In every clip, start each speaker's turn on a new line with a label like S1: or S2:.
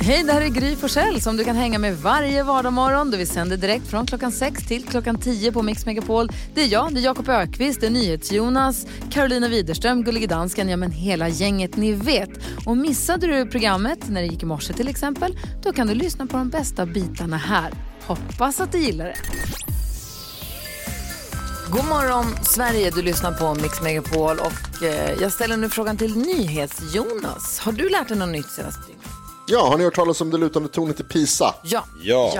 S1: Hej, det här är Gry Forssell som du kan hänga med varje vardagsmorgon. Vi sänder direkt från klockan 6 till klockan 10 på Mix Megapol. Det är jag, det är Jakob Ökvist, det är NyhetsJonas, Carolina Widerström, Gullige Dansken, ja men hela gänget ni vet. Och missade du programmet när det gick i morse till exempel, då kan du lyssna på de bästa bitarna här. Hoppas att du gillar det. God morgon Sverige, du lyssnar på Mix Megapol och eh, jag ställer nu frågan till NyhetsJonas. Har du lärt dig något nytt senast?
S2: Ja, har ni hört talas om det lutande tornet i Pisa?
S1: Ja.
S3: Ja.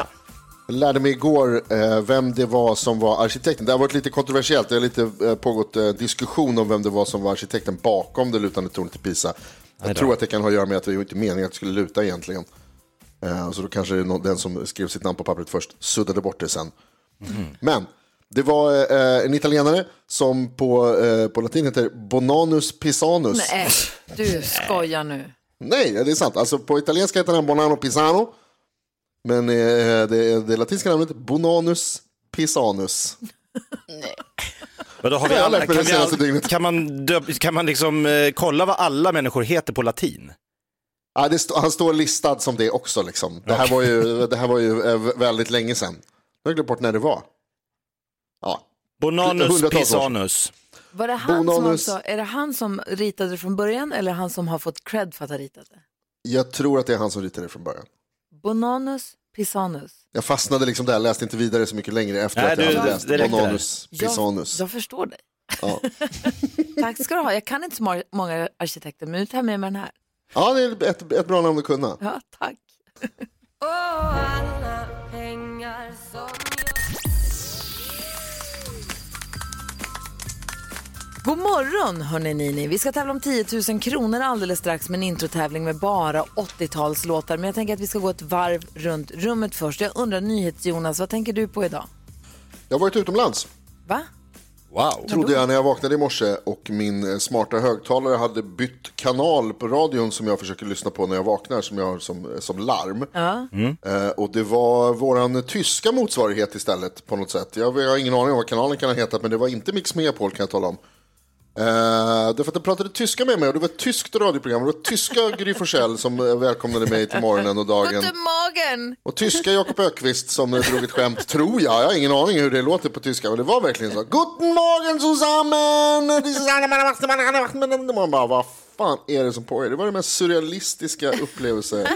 S2: Jag lärde mig igår eh, vem det var som var arkitekten. Det har varit lite kontroversiellt. Det har lite eh, pågått eh, diskussion om vem det var som var arkitekten bakom det lutande tornet i Pisa. Jag tror att det kan ha att göra med att det var ju inte meningen att det skulle luta egentligen. Eh, så då kanske det är någon, den som skrev sitt namn på pappret först suddade bort det sen. Men det var eh, en italienare som på, eh, på latin heter Bonanus Pisanus.
S1: Nej, äh, du skojar nu.
S2: Nej, det är sant. Alltså, på italienska heter den Bonano Pisano. Men eh, det, det latinska namnet Bonanus Pisanus.
S3: Men då har vi
S2: Jag har
S3: alla,
S2: lärt mig
S3: kan,
S2: det
S3: vi all-
S2: senaste dygnet.
S3: kan man, döp, kan man liksom, eh, kolla vad alla människor heter på latin?
S2: Ah, det st- han står listad som det också. Liksom. Det, här var ju, det här var ju eh, vä- väldigt länge sedan. Jag har glömt bort när det var. Ja.
S3: Bonanus
S2: Hundratals år.
S3: pisanus.
S1: Var det han som
S2: Bonanus.
S1: alltså, är det han som ritade från början eller han som har fått cred för att ha ritat det?
S2: Jag tror att det är han som ritade från början.
S1: Bonanus Pisanus.
S2: Jag fastnade liksom där, läste inte vidare så mycket längre efter
S3: Nej,
S2: att jag
S3: du-
S2: hade
S3: det-
S2: läst
S3: det räckte där.
S2: Bonanus Pisanus.
S1: Jag, jag förstår dig.
S2: Ja.
S1: Tack ska du ha. Jag kan inte så mar- många arkitekter, men nu tar jag med mig den här.
S2: ja, det är ett, ett bra namn att kunna.
S1: Ja, tack. God morgon hörni Nini. Vi ska tävla om 10 000 kronor alldeles strax med en introtävling med bara 80-talslåtar. Men jag tänker att vi ska gå ett varv runt rummet först. Jag undrar NyhetsJonas, vad tänker du på idag?
S2: Jag har varit utomlands.
S1: Va?
S3: Wow.
S2: trodde jag när jag vaknade i morse och min eh, smarta högtalare hade bytt kanal på radion som jag försöker lyssna på när jag vaknar som jag har som, eh, som larm. Eh, och det var våran tyska motsvarighet istället på något sätt. Jag, jag har ingen aning om vad kanalen kan ha hetat men det var inte Mix Megapol kan jag tala om. Eh, därför att de pratade tyska med mig och det var ett tyskt radioprogram. Det var tyska Gry Forssell som eh, välkomnade mig till morgonen och dagen.
S1: Guten Morgen!
S2: Och tyska Jakob Ökvist som eh, drog ett skämt, tror jag. Jag har ingen aning hur det låter på tyska, men det var verkligen så. Guten Morgen zusammen! This is Anna Maria Wachsman, Anna Wachsman. Man bara, vad fan är det som pågår? Det var den mest surrealistiska upplevelse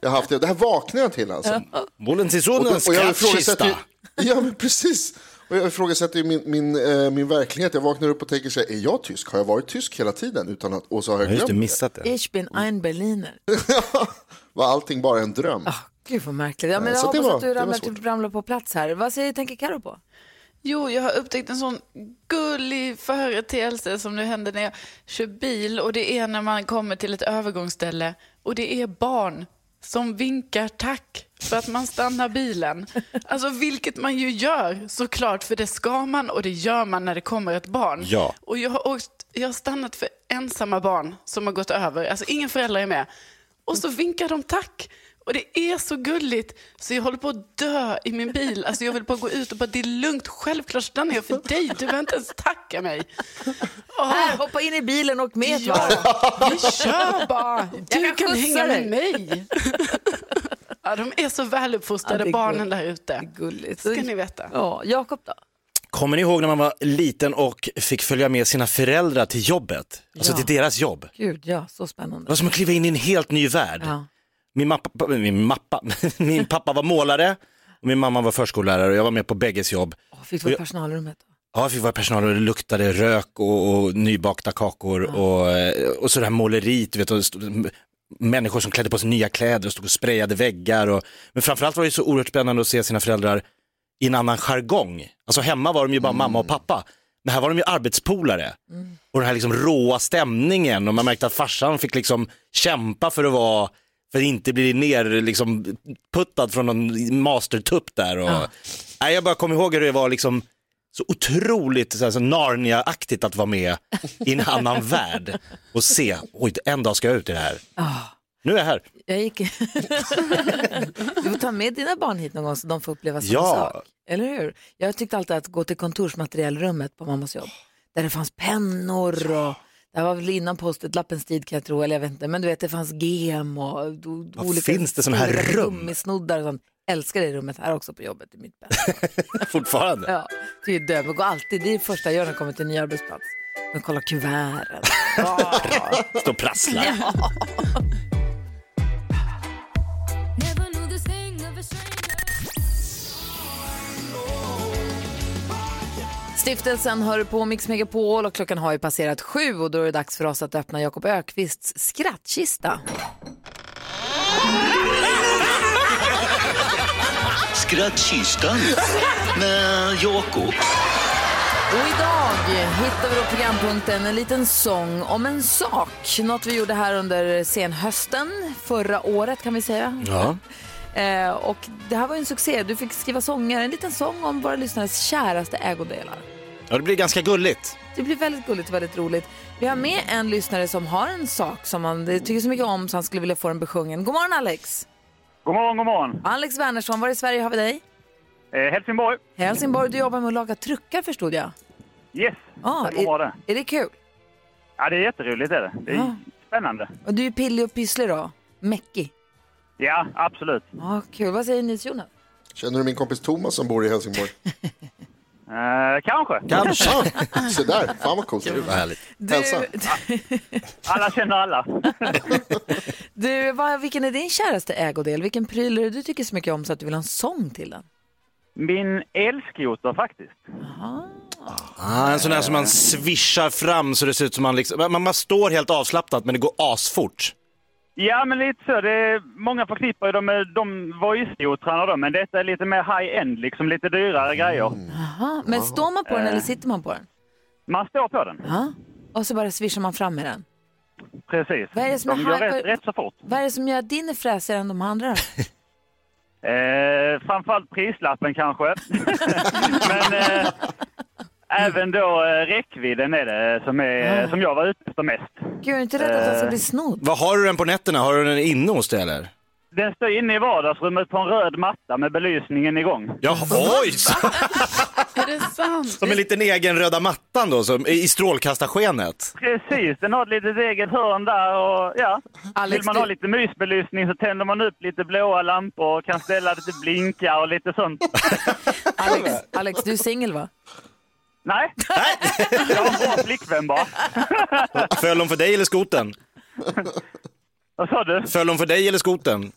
S2: jag haft. Det här vaknade jag till alltså.
S3: Bullen
S2: Och,
S3: sisonens
S2: och jag ifrågasätter ju,
S3: krattkista.
S2: Ja, men precis. Och jag ifrågasätter ju min, min, eh, min verklighet. Jag vaknar upp och tänker så här, är jag tysk? Har jag varit tysk hela tiden? Utan att, och så har jag
S3: Ja, just det,
S2: glömt.
S3: missat det.
S1: Ich
S2: Mm.
S1: bin ein Berliner.
S2: Var allting bara en dröm?
S1: Ah, Gud vad märkligt. Ja, men
S2: Eh,
S1: jag
S2: så det
S1: hoppas
S2: var-
S1: att du
S2: det var
S1: ramlar,
S2: svårt. Ah!
S1: till, ramlar på plats här. Vad säger, tänker Karo på?
S4: Jo, jag har upptäckt en sån gullig företeelse som nu händer när jag kör bil och det är när man kommer till ett övergångsställe och det är barn som vinkar tack för att man stannar bilen. Alltså vilket man ju gör såklart, för det ska man och det gör man när det kommer ett barn.
S3: Ja.
S4: Och jag har, åkt, jag har stannat för ensamma barn som har gått över, alltså ingen förälder är med. Och så vinkar de tack. Och det är så gulligt så jag håller på att dö i min bil. Alltså jag vill bara gå ut och bara, det är lugnt, självklart stannar jag för dig, du behöver inte ens tacka mig. Åh,
S1: Här, hoppa in i bilen och med ett varv.
S4: ja, vi kör bara, du
S1: Jag kan
S4: kan
S1: skjutsa
S4: hänga
S1: dig.
S4: med mig. Ja, de är så
S1: Ja,
S4: väluppfostrade
S1: det är
S4: barnen
S1: gull-
S4: där ute.
S1: Gulligt.
S4: Ska ni veta.
S1: Ja, Jakob då?
S3: Kommer ni ihåg när man var liten och fick följa med sina föräldrar till jobbet? Alltså
S1: Ja.
S3: till deras jobb. Det
S1: Gud, ja, så
S3: var
S1: spännande.
S3: som att kliva in i en helt ny värld.
S1: Ja.
S3: Min, mappa, min, mappa, min pappa var målare och min mamma var förskollärare och jag var med på bägges jobb.
S1: Åh, Fick du vara i personalrummet? då?
S3: Ja, vi fick vara personal och det luktade rök och, och nybakta kakor och, eh, och så det här måleriet, du vet, och stod, m- människor som klädde på sig nya kläder och stod och sprayade väggar. Och, men framförallt var det ju så oerhört spännande att se sina föräldrar i en annan jargong. Alltså hemma var de ju bara mamma och pappa, men här var de ju arbetspolare. Och den här liksom råa stämningen och man märkte att farsan fick liksom kämpa för att vara för att inte bli ner liksom puttad från någon mastertupp där. Och, Nej, jag bara kommer ihåg hur det var liksom så otroligt så här, så Narnia-aktigt att vara med i en annan värld och se, oj, en dag ska jag ut i det här.
S1: Ah.
S3: Nu är jag här.
S1: Jag gick... du får ta med dina barn hit någon gång så de får uppleva samma
S3: Ja.
S1: sak. Eller hur? Jag tyckte alltid att gå till kontorsmateriellrummet på mammas jobb. Där det fanns pennor och Det här var väl innan post-it-lappens tid kan jag tro, eller jag vet inte. Men du vet, det fanns gem och do,
S3: Vad finns det såna här
S1: stora
S3: rum?
S1: Gummisnoddar och sånt. Älskar det rummet här också på jobbet i mitt bädd.
S3: Fortfarande.
S1: Ja, det är ju döv. Gå alltid, det är det första jag gör när jag kommer till en ny arbetsplats. Men kolla kuverten. Ah.
S3: Står och prasslar.
S1: Stiftelsen hör på Mix Megapol och klockan har ju passerat sju och då är det dags för oss att öppna Jakob Ökvists skrattkista.
S5: Skrattkistan med Jakob.
S1: Och idag hittar vi då programpunkten En liten sång om en sak. Något vi gjorde här under senhösten, förra året kan vi säga.
S3: Ja.
S1: Eh, och det här var ju en succé. Du fick skriva sånger, en liten sång om våra lyssnares käraste ägodelar.
S3: ja, det blir ganska gulligt.
S1: Det blir väldigt gulligt och väldigt roligt. Vi har med en lyssnare som har en sak som han tycker så mycket om så han skulle vilja få den besjungen. God morgon Alex!
S6: God morgon, god morgon.
S1: Alex Wernersson, var i Sverige har vi dig?
S6: Eh, Helsingborg.
S1: Helsingborg, du jobbar med att laga truckar förstod jag.
S6: Yes,
S1: Ja,
S6: stämmer bra
S1: är,
S6: det.
S1: är det kul?
S6: Ja, det är jätteroligt. Är det. det är
S1: Ja.
S6: spännande.
S1: Och du är pillig och pysslig då? Mäckig?
S6: Ja, absolut.
S1: Ja, kul. Vad säger Nils Jonas?
S2: Känner du min kompis Thomas som bor i Helsingborg?
S6: Eh, kanske.
S3: Kanske.
S2: Se där, fan vad coolt.
S3: Gud vad härligt.
S1: Du,
S2: Hälsa.
S6: Alla känner alla.
S1: du vad, vilken är din käraste ägodel? Vilken pryl är det du tycker så mycket om så att du vill ha en sång till den?
S6: Min elskoter faktiskt.
S3: Ah, en sån där som man svischar fram så det ser ut som man liksom, man, man står helt avslappnat men det går asfort.
S6: Ja, men lite så. Det är, många förknippar ju dem med de voice-skotrarna då, men detta är lite mer high-end, liksom lite dyrare grejer.
S1: Aha, Ah, men står man på den eller sitter man på den?
S6: Man står på den,
S1: Ja. Och så bara svischar man fram med den.
S6: precis.
S1: Vad är det som
S6: de
S1: är
S6: går
S1: high-
S6: rätt, rätt så fort.
S1: Vad är det som gör att din är fräsigare än de andra? då?
S6: Eh, framförallt prislappen kanske. Men eh, även då eh, räckvidden är det som, är, som jag var ute efter mest.
S1: Gud, är du inte rädd att den ska
S3: Eh.
S1: bli snodd?
S3: Vad har du den på nätterna? Har du den inne hos dig eller?
S6: Den står inne i vardagsrummet på en röd matta med belysningen igång.
S3: Ja, oj! så-
S4: Är det sant?
S3: Som en liten egen röda mattan då, som, i strålkastarskenet.
S6: Precis, den har ett litet eget hörn där och ja.
S1: Alex,
S6: Vill man
S1: du-
S6: ha lite mysbelysning så tänder man upp lite blåa lampor och kan ställa lite blinkar och lite sånt.
S1: Alex, Alex du är singel va?
S6: Nej, jag har en bra flickvän bara.
S3: Föll hon för dig eller skoten?
S6: Vad sa du?
S3: Föll hon för dig eller skoten?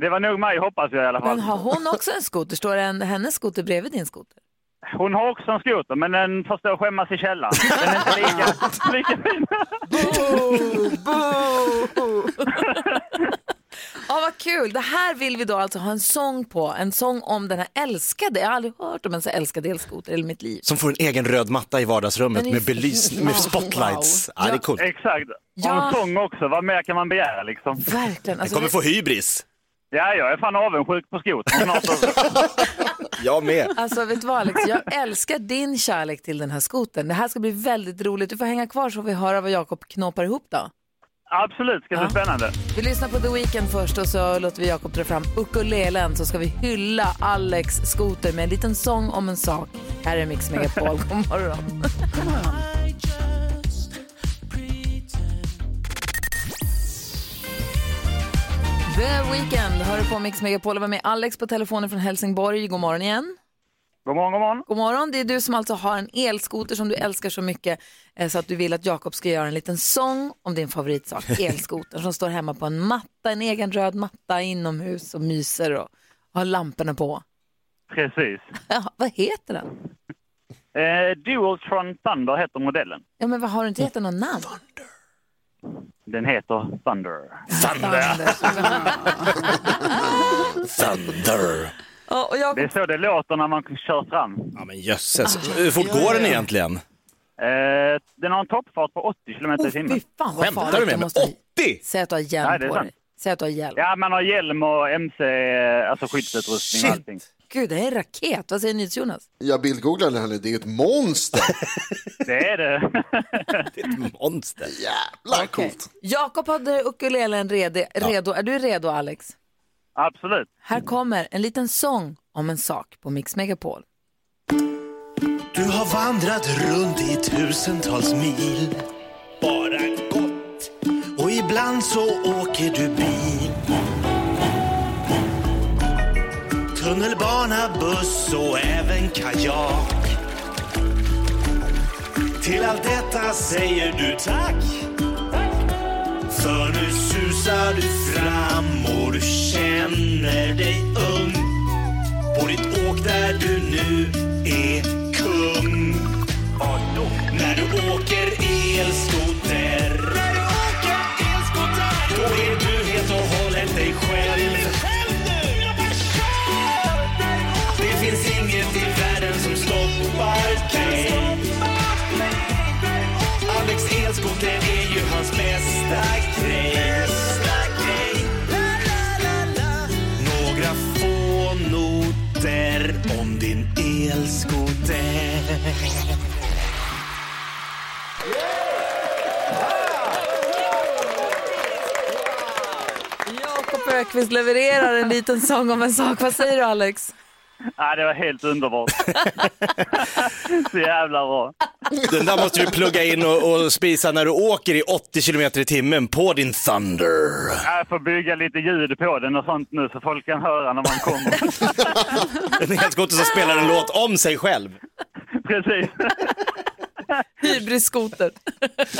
S6: Det var nog mig hoppas jag i alla fall.
S1: Men har hon också en skoter? Står en, hennes skoter bredvid din skoter?
S6: Hon har också en skoter, men den får stå och skämmas i källaren. Den är inte lika, lika fin.
S1: Ja, vad kul. Det här vill vi då alltså ha en sång på. En sång om den här älskade. Jag har aldrig hört om en så älskad elskoter i hela mitt liv.
S3: Som får en egen röd matta i vardagsrummet
S1: Den är
S3: med belysning, med spotlights. Ja, det är coolt.
S6: Exakt. Och
S1: Ja.
S6: en sång också. Vad mer kan man begära liksom?
S1: Verkligen.
S3: Jag
S1: Alltså,
S3: kommer få hybris.
S6: Ja, jag är fan avundsjuk på skotern. Hon har så-
S3: Jag med.
S1: Alltså vet du vad Alex, jag älskar din kärlek till den här skoten. Det här ska bli väldigt roligt. Du får hänga kvar så får vi höra vad Jakob knåpar ihop då.
S6: Absolut, ska bli spännande.
S1: Vi lyssnar på The Weeknd först och så låter vi Jakob dra fram ukulelen så ska vi hylla Alex skoter med en liten sång om en sak. Här är Mix Megapol. God morgon. The Weeknd hör du på Mix Megapol och var med Alex på telefonen från Helsingborg. God morgon igen.
S6: God morgon, god morgon.
S1: God morgon, det är du som alltså har en elskoter som du älskar så mycket eh, så att du vill att Jakob ska göra en liten sång om din favoritsak, elskotern som står hemma på en matta, en egen röd matta inomhus och myser och har lamporna på.
S6: Precis.
S1: Ja, vad heter den?
S6: Eh, Dualtron Thunder heter modellen.
S1: Ja, men vad har du inte gett den något namn?
S6: Den heter Thunder.
S1: Thunder.
S3: Thunder.
S1: Ja, och
S6: Det är
S1: Jakob,
S6: så det låter när man kör fram.
S3: Ja men jösses. Hur fort går den egentligen?
S6: Eh, den har en toppfart på 80 kilometer
S1: oh,
S6: i
S1: fy
S6: timmen.
S1: fan vad
S3: Skämtar du
S1: farligt.
S3: med mig?
S1: måste ha-
S3: 80?
S1: Säg att du har
S6: Nej,
S1: hjälm
S6: det är
S1: på
S6: sant.
S1: dig. Säg att du har hjälm.
S6: Ja, man har hjälm och MC, eh, alltså skyddsutrustning och allting.
S1: Gud, det är en raket. Vad säger NyhetsJonas?
S2: Jag bildgooglar det här nu, det är ju ett monster.
S6: Det är det.
S3: Det är
S1: Mm.
S3: ett monster.
S2: Jävlar coolt.
S1: Jakob hade ukulelen redi- redo. Är du redo, Alex?
S6: Absolut.
S1: Här kommer en liten sång om en sak på Mix Megapol.
S7: Du har vandrat runt i tusentals mil
S5: bara gott. Och ibland så åker du bil. Tunnelbana, buss och även kajak. Till allt detta säger du tack. För nu susar du fram och du känner dig ung. På ditt åk där du nu är kung. När du åker elskoter När du åker elskoter Då är du helt och hållet dig själv Det finns inget i världen som stoppar dig Alex elskoter är ju hans bästa grej Några få noter om din elskoter
S1: Jakob Ökvist levererar en liten sång om en sak. Vad säger du Alex?
S6: Nej, det var helt underbart. Så jävla bra.
S3: Den där måste du plugga in och, och spisa när du åker i 80 kilometer i timmen på din Thunder.
S6: Jag får bygga lite ljud på den och sånt nu så folk kan höra när man kommer.
S3: En elskoter som spelar en låt om sig själv.
S6: Precis.
S1: Hybrisskoter.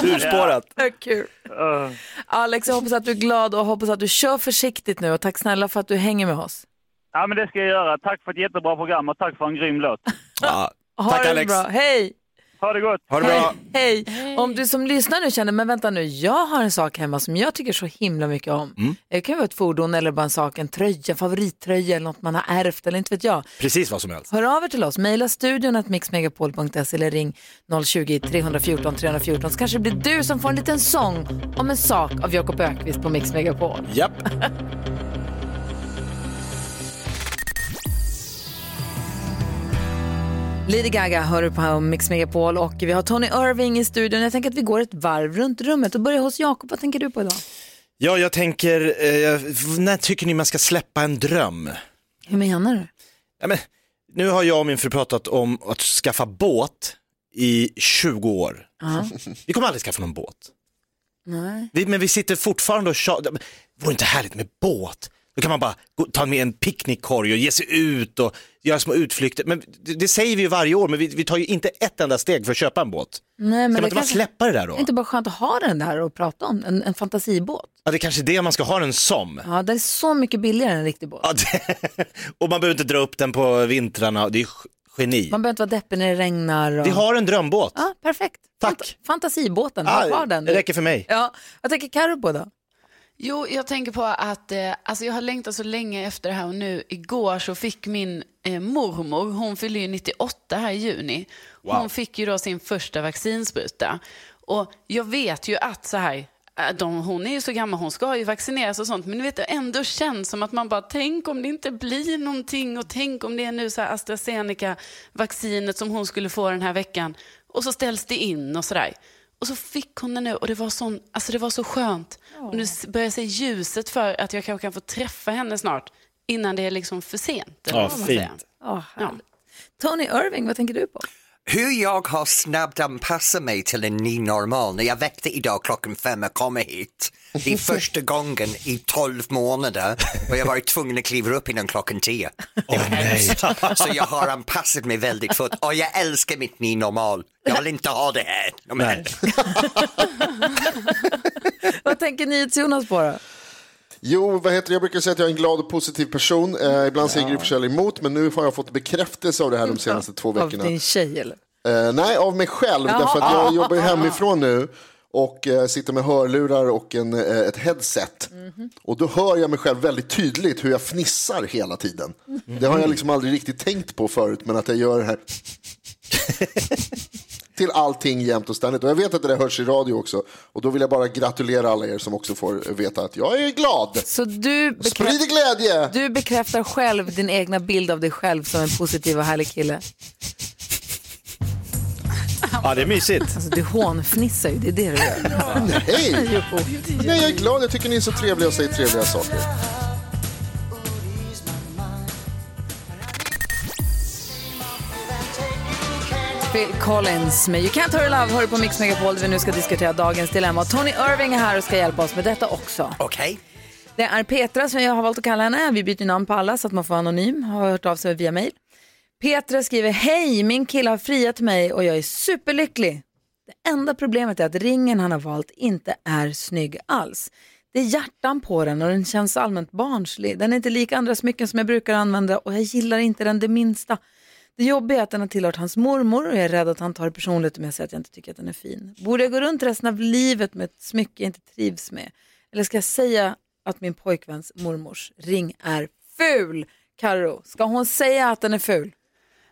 S3: Urspårat.
S1: Kul.
S6: Uh,
S1: Alex, jag hoppas att du är glad och hoppas att du kör försiktigt nu och tack snälla för att du hänger med oss.
S6: Ja, men det ska jag göra. Tack för ett jättebra program och tack för en grym låt.
S3: Ja.
S1: Ha
S3: Tack
S1: det
S3: Alex.
S1: bra. Hej!
S6: Ha det gott!
S3: Ha det bra.
S1: Hej. Om du som lyssnar nu känner, men vänta nu, jag har en sak hemma som jag tycker så himla mycket om.
S3: Mm.
S1: Det kan vara ett fordon eller bara en sak, en tröja, favorittröja eller något man har ärvt eller inte vet jag.
S3: Precis vad som helst.
S1: Hör av er till oss, mejla studion att mixmegapol.se eller ring 020-314 314 så kanske det blir du som får en liten sång om en sak av Jakob Ökvist på Mix Megapol.
S3: Japp.
S1: Lady Gaga hör du på Mix Megapol och vi har Tony Irving i studion. Jag tänker att vi går ett varv runt rummet och börjar hos Jakob. Vad tänker du på idag?
S3: Ja, jag tänker, eh, när tycker ni man ska släppa en dröm?
S1: Hur menar du?
S3: Ja, men, nu har jag och min fru pratat om att skaffa båt i 20 år. Vi kommer aldrig skaffa någon båt.
S1: Nej.
S3: Vi, men vi sitter fortfarande och tjatar. Men Vore inte härligt med båt? Då kan man bara gå, ta med en picknickkorg och ge sig ut och göra små utflykter. Men det, det säger vi ju varje år, men vi, vi tar ju inte ett enda steg för att köpa en båt.
S1: Nej,
S3: Ska man
S1: men det
S3: inte bara
S1: kanske-
S3: släppa det där då?
S1: Det är inte bara skönt att ha den där och prata om, en, en fantasibåt.
S3: Ja, det är kanske är det man ska ha den som.
S1: Ja, det är så mycket billigare än en riktig båt.
S3: Ja, det... Och man behöver inte dra upp den på vintrarna. Det är ge- geni.
S1: Man behöver inte vara deppig när det regnar. Och...
S3: Vi har en drömbåt.
S1: Ja, perfekt.
S3: Tack.
S1: Fant- fantasibåten, ha
S3: Ah,
S1: kvar den.
S3: det räcker för mig.
S1: Ja, vad tänker Carro på då?
S4: Jo, jag tänker på att eh, alltså jag har längtat så länge efter det här och nu igår så fick min eh, mormor, hon fyller ju 98 här i juni, hon fick ju då sin första vaccinspruta. Och jag vet ju att så här, eh, de, hon är ju så gammal, hon ska ju vaccineras och sånt, men du vet det ändå känns som att man bara, tänk om det inte blir någonting och tänk om det är nu så här AstraZeneca-vaccinet som hon skulle få den här veckan och så ställs det in och sådär. Och så fick hon den nu och det var, sån, alltså det var så skönt. Och nu s- börjar jag se ljuset för att jag kanske kan få träffa henne snart innan det är liksom för sent. eller
S3: Ja,
S4: vad man säger.
S3: fint.
S1: Oh,
S4: Ja.
S1: Tony Irving, vad tänker du på?
S7: Hur jag har snabbt anpassat mig till en ny normal när jag väckte idag klockan fem och kom hit. Det är första gången i tolv månader och jag har varit tvungen att kliva upp innan klockan tio.
S3: Åh, nej.
S7: Så jag har anpassat mig väldigt fort och jag älskar mitt ny normal. Jag vill inte ha det här. Men,
S1: Vad tänker ni Jonas på då?
S2: Jo, vad heter det? Jag brukar säga att jag är en glad och positiv person. Eh, ibland säger Gry Forssell emot, men nu har jag fått bekräftelse av det här de senaste två
S1: Av
S2: veckorna.
S1: din tjej eller?
S2: Eh, nej, av mig själv,
S1: Jaha.
S2: därför att jag jobbar ju hemifrån nu och eh, sitter med hörlurar och en, eh, ett headset. Och då hör jag mig själv väldigt tydligt hur jag fnissar hela tiden. Det har jag liksom aldrig riktigt tänkt på förut, men att jag gör det här till allting jämt och ständigt. Och jag vet att det där hörs i radio också. Och då vill jag bara gratulera alla er som också får veta att jag är glad.
S1: Så du, bekrä...
S2: Sprid glädje!
S1: du bekräftar själv din egna bild av dig själv som en positiv och härlig kille?
S3: Ja, det är mysigt.
S1: Alltså du hånfnissar ju, det är det du gör.
S2: Hej!
S1: Jo.
S2: Nej, jag är glad. Jag tycker ni är så trevliga och säger trevliga saker.
S1: Phil Collins med You Can't Hurry Love hör du på Mix Megapol där vi nu ska diskutera dagens dilemma. Och Tony Irving är här och ska hjälpa oss med detta också.
S7: Okej.
S1: Det är Petra som jag har valt att kalla henne. Vi byter namn på alla så att man får vara anonym. Har hört av sig via mail. Petra skriver, hej min kille har friat mig och jag är superlycklig. Det enda problemet är att ringen han har valt inte är snygg alls. Det är hjärtan på den och den känns allmänt barnslig. Den är inte lik andra smycken som jag brukar använda och jag gillar inte den det minsta. Det jobbiga är att den har tillhört hans mormor och jag är rädd att han tar det personligt om jag säger att jag inte tycker att den är fin. Borde jag gå runt resten av livet med ett smycke jag inte trivs med? Eller ska jag säga att min pojkväns mormors ring är ful? Karo, ska hon säga att den är ful?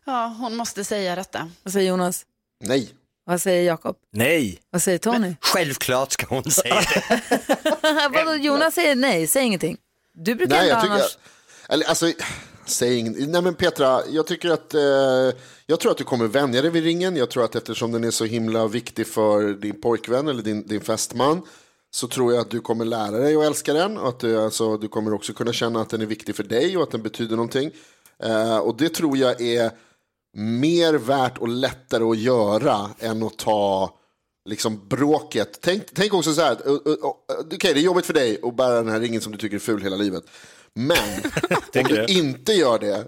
S4: Ja, hon måste säga detta.
S1: Vad säger Jonas?
S2: Nej.
S1: Vad säger Jakob?
S3: Nej,
S1: Vad säger Tony?
S7: Självklart ska hon säga det.
S1: Vadå, Jonas säger nej, säg ingenting. Du brukar
S2: Nej,
S1: inte
S2: jag tycker...
S1: annars...
S2: Eller, alltså, säg ingen... Nej, men Petra, jag tycker att... Eh, jag tror att du kommer vänja dig vid ringen. Jag tror att eftersom den är så himla viktig för din pojkvän eller din, din fästman så tror jag att du kommer lära dig att älska den. Och att du, alltså, du kommer också kunna känna att den är viktig för dig och att den betyder någonting. Eh, och det tror jag är mer värt och lättare att göra än att ta liksom bråket. Tänk, tänk också så här, att, uh, uh, uh, okej det är jobbigt för dig att bära den här ringen som du tycker är ful hela livet. Men om
S3: Tänker
S2: du
S3: det.
S2: inte gör det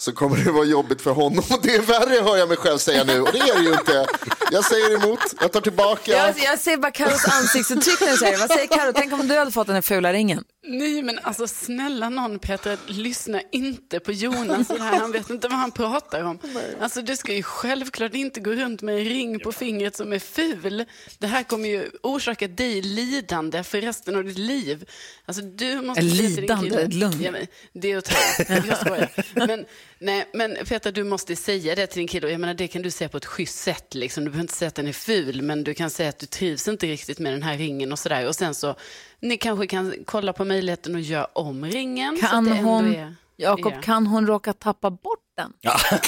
S2: så kommer det vara jobbigt för honom. Och det är värre hör jag mig själv säga nu och det är det ju inte. Jag säger emot, jag tar tillbaka.
S1: Jag, jag ser bara Karos ansiktsuttryck när du säger det. Vad säger Karo? Tänk om du hade fått den här fula ringen.
S4: Nej, men alltså snälla någon Petra, lyssna inte på Jonas. Det här. Han vet inte vad han pratar om. Alltså du ska ju självklart inte gå runt med en ring på fingret som är ful. Det här kommer ju orsaka dig lidande för resten av ditt liv. Alltså du måste...
S1: En
S4: säga till din
S1: lidande?
S4: kille-
S1: Lugn.
S4: Ja, men, det är att ta i. Jag skojar. Men, nej, men Petra, du måste säga det till din kille. Och Jag menar, det kan du säga på ett schysst sätt. Liksom. Du behöver inte säga att den är ful, men du kan säga att du trivs inte riktigt med den här ringen och sådär. Och sen så, ni kanske kan kolla på möjligheten att göra om ringen. så att
S1: Kan
S4: det ändå
S1: hon,
S4: är-
S1: Jakob,
S4: är-
S1: kan hon råka tappa bort den?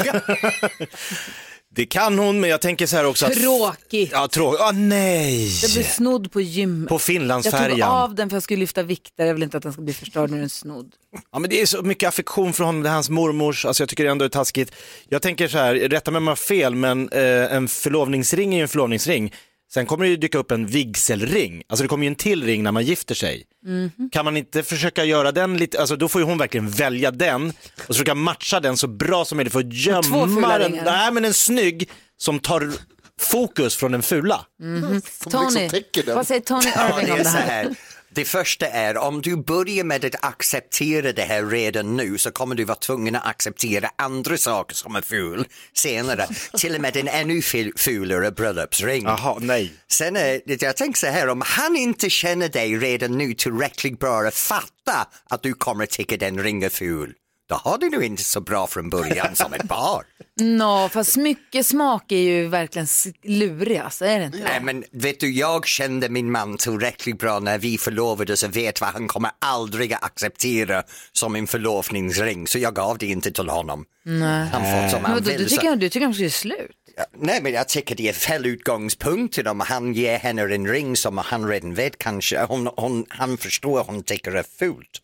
S3: det kan hon, men jag tänker så här också att...
S1: Tråkigt.
S3: Ja, tråkigt. Ah, nej!
S1: Jag blev snodd på gymmet.
S3: På
S1: jag tog
S3: Finlandsfärjan.
S1: av den för jag skulle lyfta vikter. Jag vill inte att den ska bli förstörd när den är snodd.
S3: Ja, men det är så mycket affektion från honom, det är hans mormors, alltså jag tycker det ändå är taskigt. Jag tänker så här, rätta mig om jag har fel, men eh, en förlovningsring är ju en förlovningsring. Sen kommer det ju dyka upp en vigselring, alltså det kommer ju en till ring när man gifter sig.
S1: Mhm.
S3: Kan man inte försöka göra den lite, alltså då får ju hon verkligen välja den och försöka matcha den så bra som möjligt för att
S1: två
S3: gömma
S1: fula
S3: den.
S1: ringar.
S3: Nej men en snygg som tar fokus från den fula.
S1: Mm.
S2: Som liksom
S1: Tony,
S2: täcker den.
S1: vad säger Tony
S7: Ja,
S1: Irving
S7: det,
S1: om
S7: är
S1: det
S7: så
S1: här?
S7: här. det första är, om du börjar med att acceptera det här redan nu så kommer du vara tvungen att acceptera andra saker som är ful senare. Till och med en ännu ful- fulare bröllopsring.
S3: Jaha, nej.
S7: Sen är, det- jag tänker så här, om han inte känner dig redan nu tillräckligt bra att fatta att du kommer tycka den ringer ful, då har du nog inte så bra från början som ett par.
S1: Nå, fast smyckesmak är ju verkligen s- lurig alltså, är det inte?
S7: Nej men vet du, jag kände min man tillräckligt bra när vi förlovades och vet vad han kommer aldrig att acceptera som en förlovningsring så jag gav det inte till honom. Nej. Han får som
S1: Men
S7: han
S1: vadå, du
S7: vill. Så,
S1: tycker, du tycker han ska göra slut?
S7: nej men jag tycker det är fel utgångspunkt om han ger henne en ring som han redan vet kanske, hon, hon, han förstår hon tycker är fult.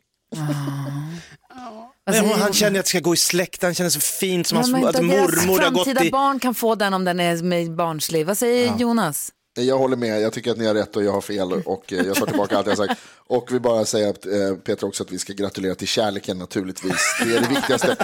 S1: Vad
S3: nej
S1: säger
S3: hon, han
S1: Jonas?
S3: känner att Alltså, det ska gå i släkt, han känner så fint som
S1: Ja,
S3: hans,
S1: men
S3: att
S1: deras
S3: mormor har gått
S1: framtida
S3: i...
S1: barn kan få den om den är med barnslig. Vad säger Jonas?
S2: Jag håller med, jag tycker att ni har rätt och jag har fel och eh, jag tar tillbaka allt jag har sagt. Och vi bara säga att eh, Petra också att vi ska gratulera till kärleken naturligtvis. Det är det viktigaste.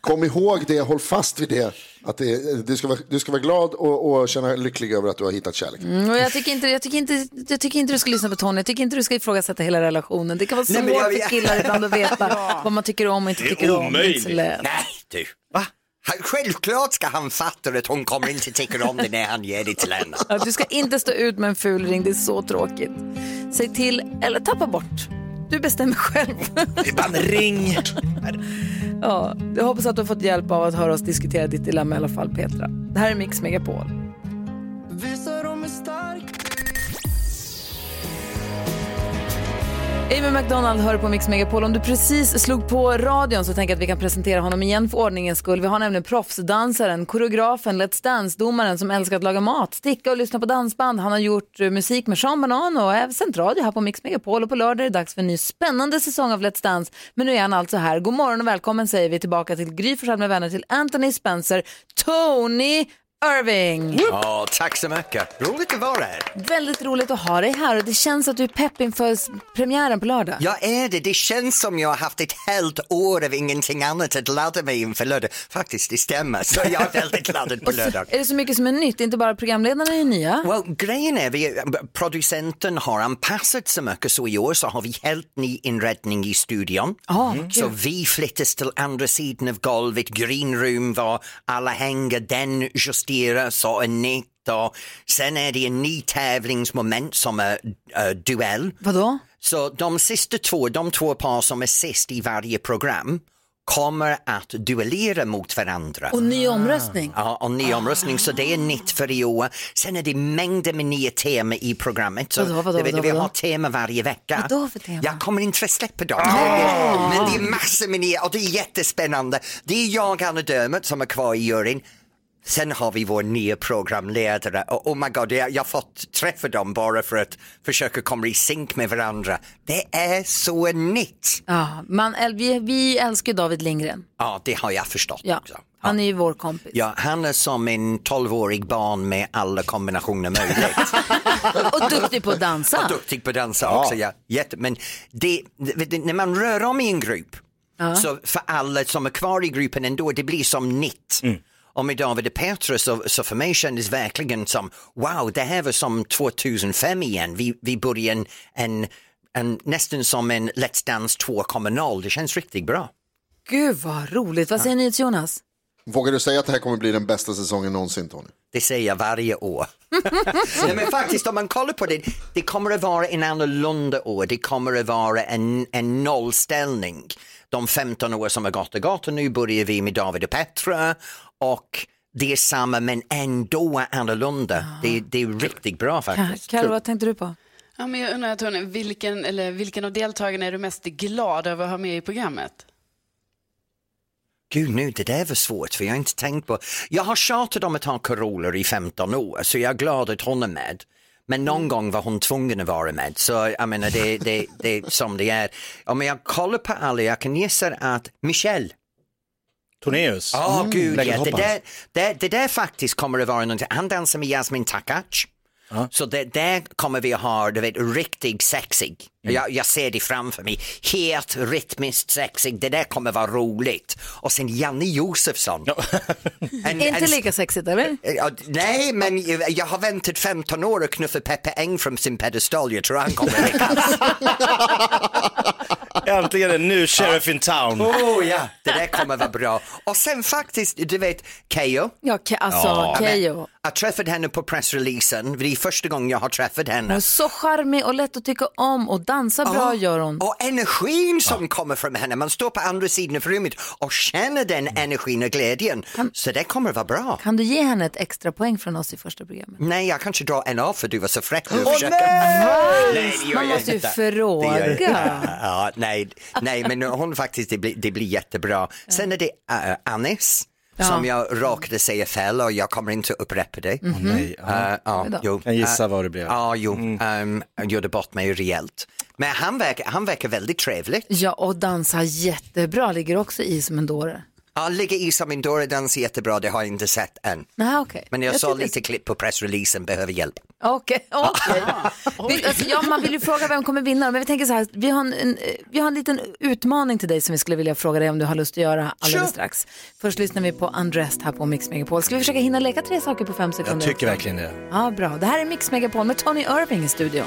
S2: Kom ihåg det, håll fast vid det. Att det eh, du, ska vara, du ska vara glad och, och känna dig lycklig över att du har hittat kärleken.
S1: Mm, och jag, tycker inte, jag, tycker inte, jag tycker inte du ska lyssna på Tony, jag tycker inte du ska ifrågasätta hela relationen. Det kan vara
S7: Nej, men
S1: svårt
S7: jag-
S1: för killar ibland att veta vad man tycker om och inte
S3: Det är
S1: tycker om. är
S3: omöjligt.
S1: så lätt.
S7: Nej du. Va? Han, självklart ska han fatta att hon kommer inte tycka om det när han ger det till henne.
S1: Ja, Du ska inte stå ut med en ful ring, det är så tråkigt. Säg till eller tappa bort. Du bestämmer själv.
S3: Ibland ring!
S1: Ja, jag hoppas att du har fått hjälp av att höra oss diskutera ditt dilemma i alla fall, Petra. Det här är Mix Megapol. Amy McDonald hör på Mix Megapol. Om du precis slog på radion så tänker jag att vi kan presentera honom igen för ordningens skull. Vi har nämligen proffsdansaren, koreografen, Let's Dance-domaren som älskar att laga mat, sticka och lyssna på dansband. Han har gjort eh, musik med Sean Banan och även sänt radio här på Mix Megapol. Och på lördag är det dags för en ny spännande säsong av Let's Dance. Men nu är han alltså här. God morgon och välkommen säger vi tillbaka till Gry Forssell med vänner till Anthony Spencer, Tony Irving.
S7: Ja, tack så mycket. Roligt att vara här.
S1: Väldigt roligt att ha dig här och det känns att du är pepp inför s- premiären på lördag.
S7: Jag är det. Det känns som jag har haft ett helt år av ingenting annat att ladda mig inför lördag. Faktiskt, det stämmer. Så jag är väldigt laddad på lördag.
S1: Är det så mycket som är nytt? Inte bara programledarna är ju nya.
S7: Well, grejen är vi, producenten har anpassat sig mycket så i år så har vi helt ny inredning i studion. Mm.
S1: Ja, Ah, kul.
S7: Så vi flyttas till andra sidan av golvet, greenroom var alla hänger, den justeras och är nytt. Och sen är det en ny tävlingsmoment som är eh, duell.
S1: Vadå?
S7: Så de sista två, de två par som är sist i varje program kommer att duellera mot varandra.
S1: Och ny omröstning.
S7: Ja, och ny omröstning, så det är nytt för i år. Sen är det mängder med nya teman i programmet. Så
S1: Vadå, vadå,
S7: det vet
S1: vadå,
S7: vi
S1: vadå?
S7: har tema varje vecka.
S1: Vadå för tema?
S7: Jag kommer inte att släppa dem. Men det är massor med nya och det är jättespännande. Det är jag, Anna Dermot, som är kvar i juryn. Sen har vi vår nya programledare och oh my god, jag jag har fått träffa dem bara för att försöka komma i synk med varandra. Det är så nytt!
S1: Ja, Ah, man, äl- vi, vi älskar ju David Lindgren.
S7: Ja, det har jag förstått
S1: Ja.
S7: också.
S1: Han är ju vår kompis.
S7: Ja, han är som en 12-årig barn med alla kombinationer möjligt.
S1: Och duktig på att dansa.
S7: Duktig på att dansa också, ja. Jätte, men det, vet du, när man rör om i en grupp, så för alla som är kvar i gruppen ändå, det blir som nytt. Och med David och Petra så, så för mig kändes verkligen som, wow, det här var som 2005 igen. Vi, vi började en, en, en, nästan som en Let's Dance 2.0, det känns riktigt bra.
S1: Gud vad roligt. Vad säger ni till Jonas?
S2: Vågar du säga att det här kommer bli den bästa säsongen någonsin, Tony?
S7: Det säger jag varje år. Nej, men faktiskt om man kollar på det, det kommer att vara en annorlunda år. Det kommer att vara en, en nollställning. De 15 år som har gått och gått och nu börjar vi med David och Petra och det är samma men ändå annorlunda. Det, det är riktigt bra faktiskt.
S1: Carro, vad tänkte du på?
S4: Ja, men jag undrar, Tony, vilken, eller vilken av deltagarna är du mest glad över att ha med i programmet?
S7: Gud nu, det där var svårt för jag har inte tänkt på. Jag har tjatat om att ha Carola i 15 år så jag är glad att hon är med. Men någon gång var hon tvungen att vara med så jag menar det, det, det är som det är. Om jag kollar på alla, jag kan gissa att Michelle
S3: Tornéus.
S7: Ja, gud ja. Mm, Det
S3: Lägenhetshopparens.
S7: där, det, det där faktiskt kommer att vara någonting. Han dansar med Jasmin Takac. Så det där kommer vi att ha, du vet, riktigt sexig. Jag, jag ser det framför mig. Helt rytmiskt sexig. Det där kommer vara roligt. Och sen Janne Josefsson. En-
S1: Inte
S7: en- Eh,
S1: lika sexigt eller?
S7: Ja, nej, men jag- jag har väntat 15 år att knuffa Peppe Eng från sin pedestal. Jag tror han kommer lyckas.
S3: Äntligen en ny sheriff in town.
S7: oh, ja. Det där kommer vara bra. Och sen faktiskt, du vet, Keyyo.
S1: Ja, Ke- alltså
S3: Ja.
S1: Keyyo.
S7: Jag träffade henne på pressreleasen, det är första gången jag har träffat
S1: Hon
S7: henne.
S1: är så charmig och lätt att tycka om och dansa bra gör hon.
S7: Och energin som kommer från henne, man står på andra sidan av rummet och känner den energin och glädjen. Så det kommer vara bra.
S1: Kan du ge henne ett extra poäng från oss i första programmet?
S7: Nej, jag kanske drar en av för du var så fräck. Du försöker- nej! det gör
S1: Man
S7: jag
S1: måste ju
S7: inte.
S1: fråga.
S7: Det gör jag inte. Ja, nej, nej, men hon faktiskt, det blir, det blir jättebra. Sen är det äh, Anis. Som jag råkade säga fel och jag kommer inte upprepa det.
S1: Mhm. Mm.
S3: Nej, ja.
S7: Eh, ja,
S1: då.
S7: jo.
S3: Kan gissa vad det blev. Mm.
S7: Ja, jo. Ehm, jag gjorde bort mig rejält. Men han verkar, han verkar väldigt trevlig.
S1: Ja, och dansa jättebra, ligger också i som en dåre.
S7: Han ligger i som en dörr, den ser jättebra, det har jag inte sett än.
S1: Nej, okej.
S7: Men jag, såg
S1: tyckte-
S7: lite klipp på pressreleasen, behöver hjälp.
S1: Okej, okej. Vi- alltså, ja, man vill ju fråga vem kommer vinna, men vi tänker så här, vi har en, en, eh, vi har en liten utmaning till dig som vi skulle vilja fråga dig om du har lust att göra alldeles
S7: Sure.
S1: strax. Först lyssnar vi på Undressed här på Mix Megapol. Ska vi försöka hinna leka tre saker på fem sekunder?
S3: Jag tycker verkligen det.
S1: Ja, bra. Det här är Mix Megapol med Tony Irving i studion.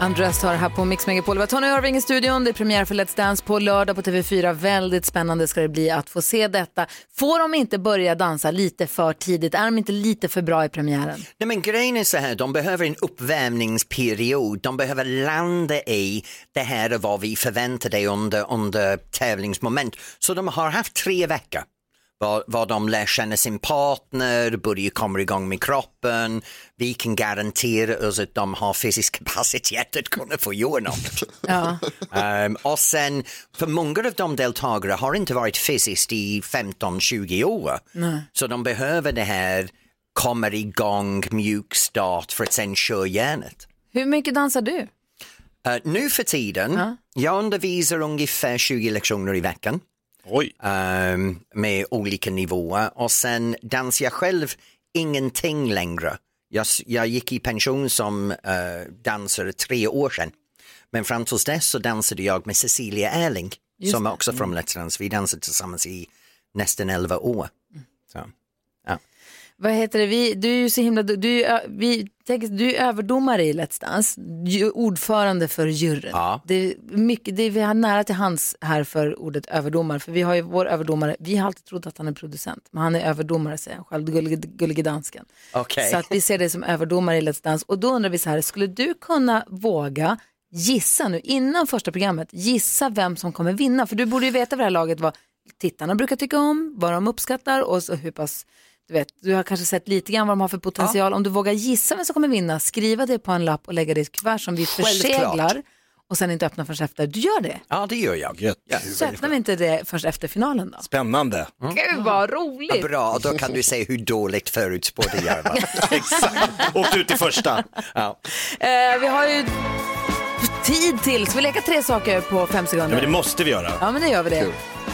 S1: Andröst har här på Mix Megapol. Det var Tony Irving i studion. Det är premiär för Let's Dance på lördag på TV4. Väldigt spännande ska det bli att få se detta. Får de inte börja dansa lite för tidigt? Är de inte lite för bra i premiären?
S7: Nej men grejen är så här, de behöver en uppvärmningsperiod. De behöver landa i det här är vad vi förväntar dig under, under tävlingsmoment. Så de har haft tre veckor. Vad, vad de lär känna sin partner, börjar komma igång med kroppen. Vi kan garantera oss att de har fysisk kapacitet att kunna få göra något.
S1: Ja.
S7: Ehm, och sen, för många av de deltagare har inte varit fysiskt i 15-20 år. Så de behöver det här, kommer igång, mjuk start för att sen köra järnet.
S1: Hur mycket dansar du?
S7: Eh, nu Ehm, för tiden Jag undervisar ungefär 20 lektioner i veckan
S3: Oj.
S7: ehm, med olika nivåer och sen dansar jag själv ingenting längre. Jag, s- jag gick i pension som eh, dansare tre år sedan. Men fram tills dess så dansade jag med Cecilia Erling som är också
S1: Mm.
S7: från Lettlands. Vi dansade tillsammans i nästan elva år. Så.
S1: Vad heter det, vi, du är ju så himla, du, du, är ju ö- vi, tänk, du är överdomare i Let's Dance, ju- ordförande för juryn.
S7: Ja.
S1: Det är mycket, det är, vi har nära till hans här för ordet överdomare, för vi har ju vår överdomare, vi har alltid trott att han är producent, men han är överdomare säger han själv, gullige, gullige dansken.
S7: Okej.
S1: Så att vi ser dig som överdomare i Let's Dance och då undrar vi så här, skulle du kunna våga gissa nu innan första programmet, gissa vem som kommer vinna? För du borde ju veta vid det här laget vad tittarna brukar tycka om, vad de uppskattar och så hur pass, du vet, du har kanske sett lite grann vad de har för potential. Om du vågar gissa vem som kommer vinna, skriva det på en lapp och lägga det i ett kuvert som vi
S7: Självklart.
S1: förseglar och sen inte öppna förrän efter. Du gör det,
S7: Ja, det gör jag.
S3: Gött.
S1: så öppnar vi inte det förrän efter finalen då.
S3: Spännande.
S1: Gud vad
S7: Ja,
S1: roligt!
S7: bra, och då kan du se hur dåligt förutspådde jag var.
S3: Exakt. Åkte ut i första.
S7: Ja.
S1: Eh, vi har ju tid till, så vi leker tre saker på fem
S3: Ja, men det
S1: sekunder?
S3: måste vi göra.
S1: Ja, men det gör vi det.